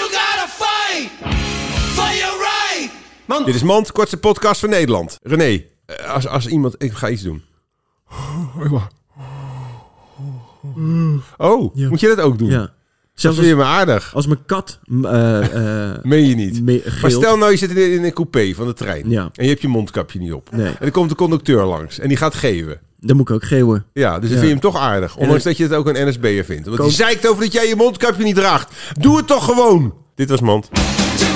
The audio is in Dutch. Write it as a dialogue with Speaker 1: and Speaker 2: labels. Speaker 1: gotta fight for your right.
Speaker 2: Dit is Mand, kortste podcast van Nederland. René, eh, als, als iemand... Ik ga iets doen. Oh,
Speaker 3: Ja.
Speaker 2: moet je dat ook doen?
Speaker 3: Ja.
Speaker 2: Dat
Speaker 3: Zelfs
Speaker 2: vind je
Speaker 3: als,
Speaker 2: me aardig.
Speaker 3: als mijn kat m- eh, eh,
Speaker 2: Meen je niet.
Speaker 3: me-
Speaker 2: Maar
Speaker 3: gilt.
Speaker 2: stel nou, je zit in, in een coupé van de trein.
Speaker 3: Ja.
Speaker 2: En je hebt je mondkapje niet op.
Speaker 3: Nee.
Speaker 2: En dan komt de conducteur langs. En die gaat geven.
Speaker 3: dan moet ik ook geeuwen.
Speaker 2: Ja, dus dan
Speaker 3: Ja.
Speaker 2: vind je hem toch aardig. Ondanks dat je het ook een NSB'er vindt. Want die
Speaker 3: Koop-
Speaker 2: zeikt over dat jij je mondkapje niet draagt. Doe het toch gewoon. Dit was Mand.
Speaker 1: To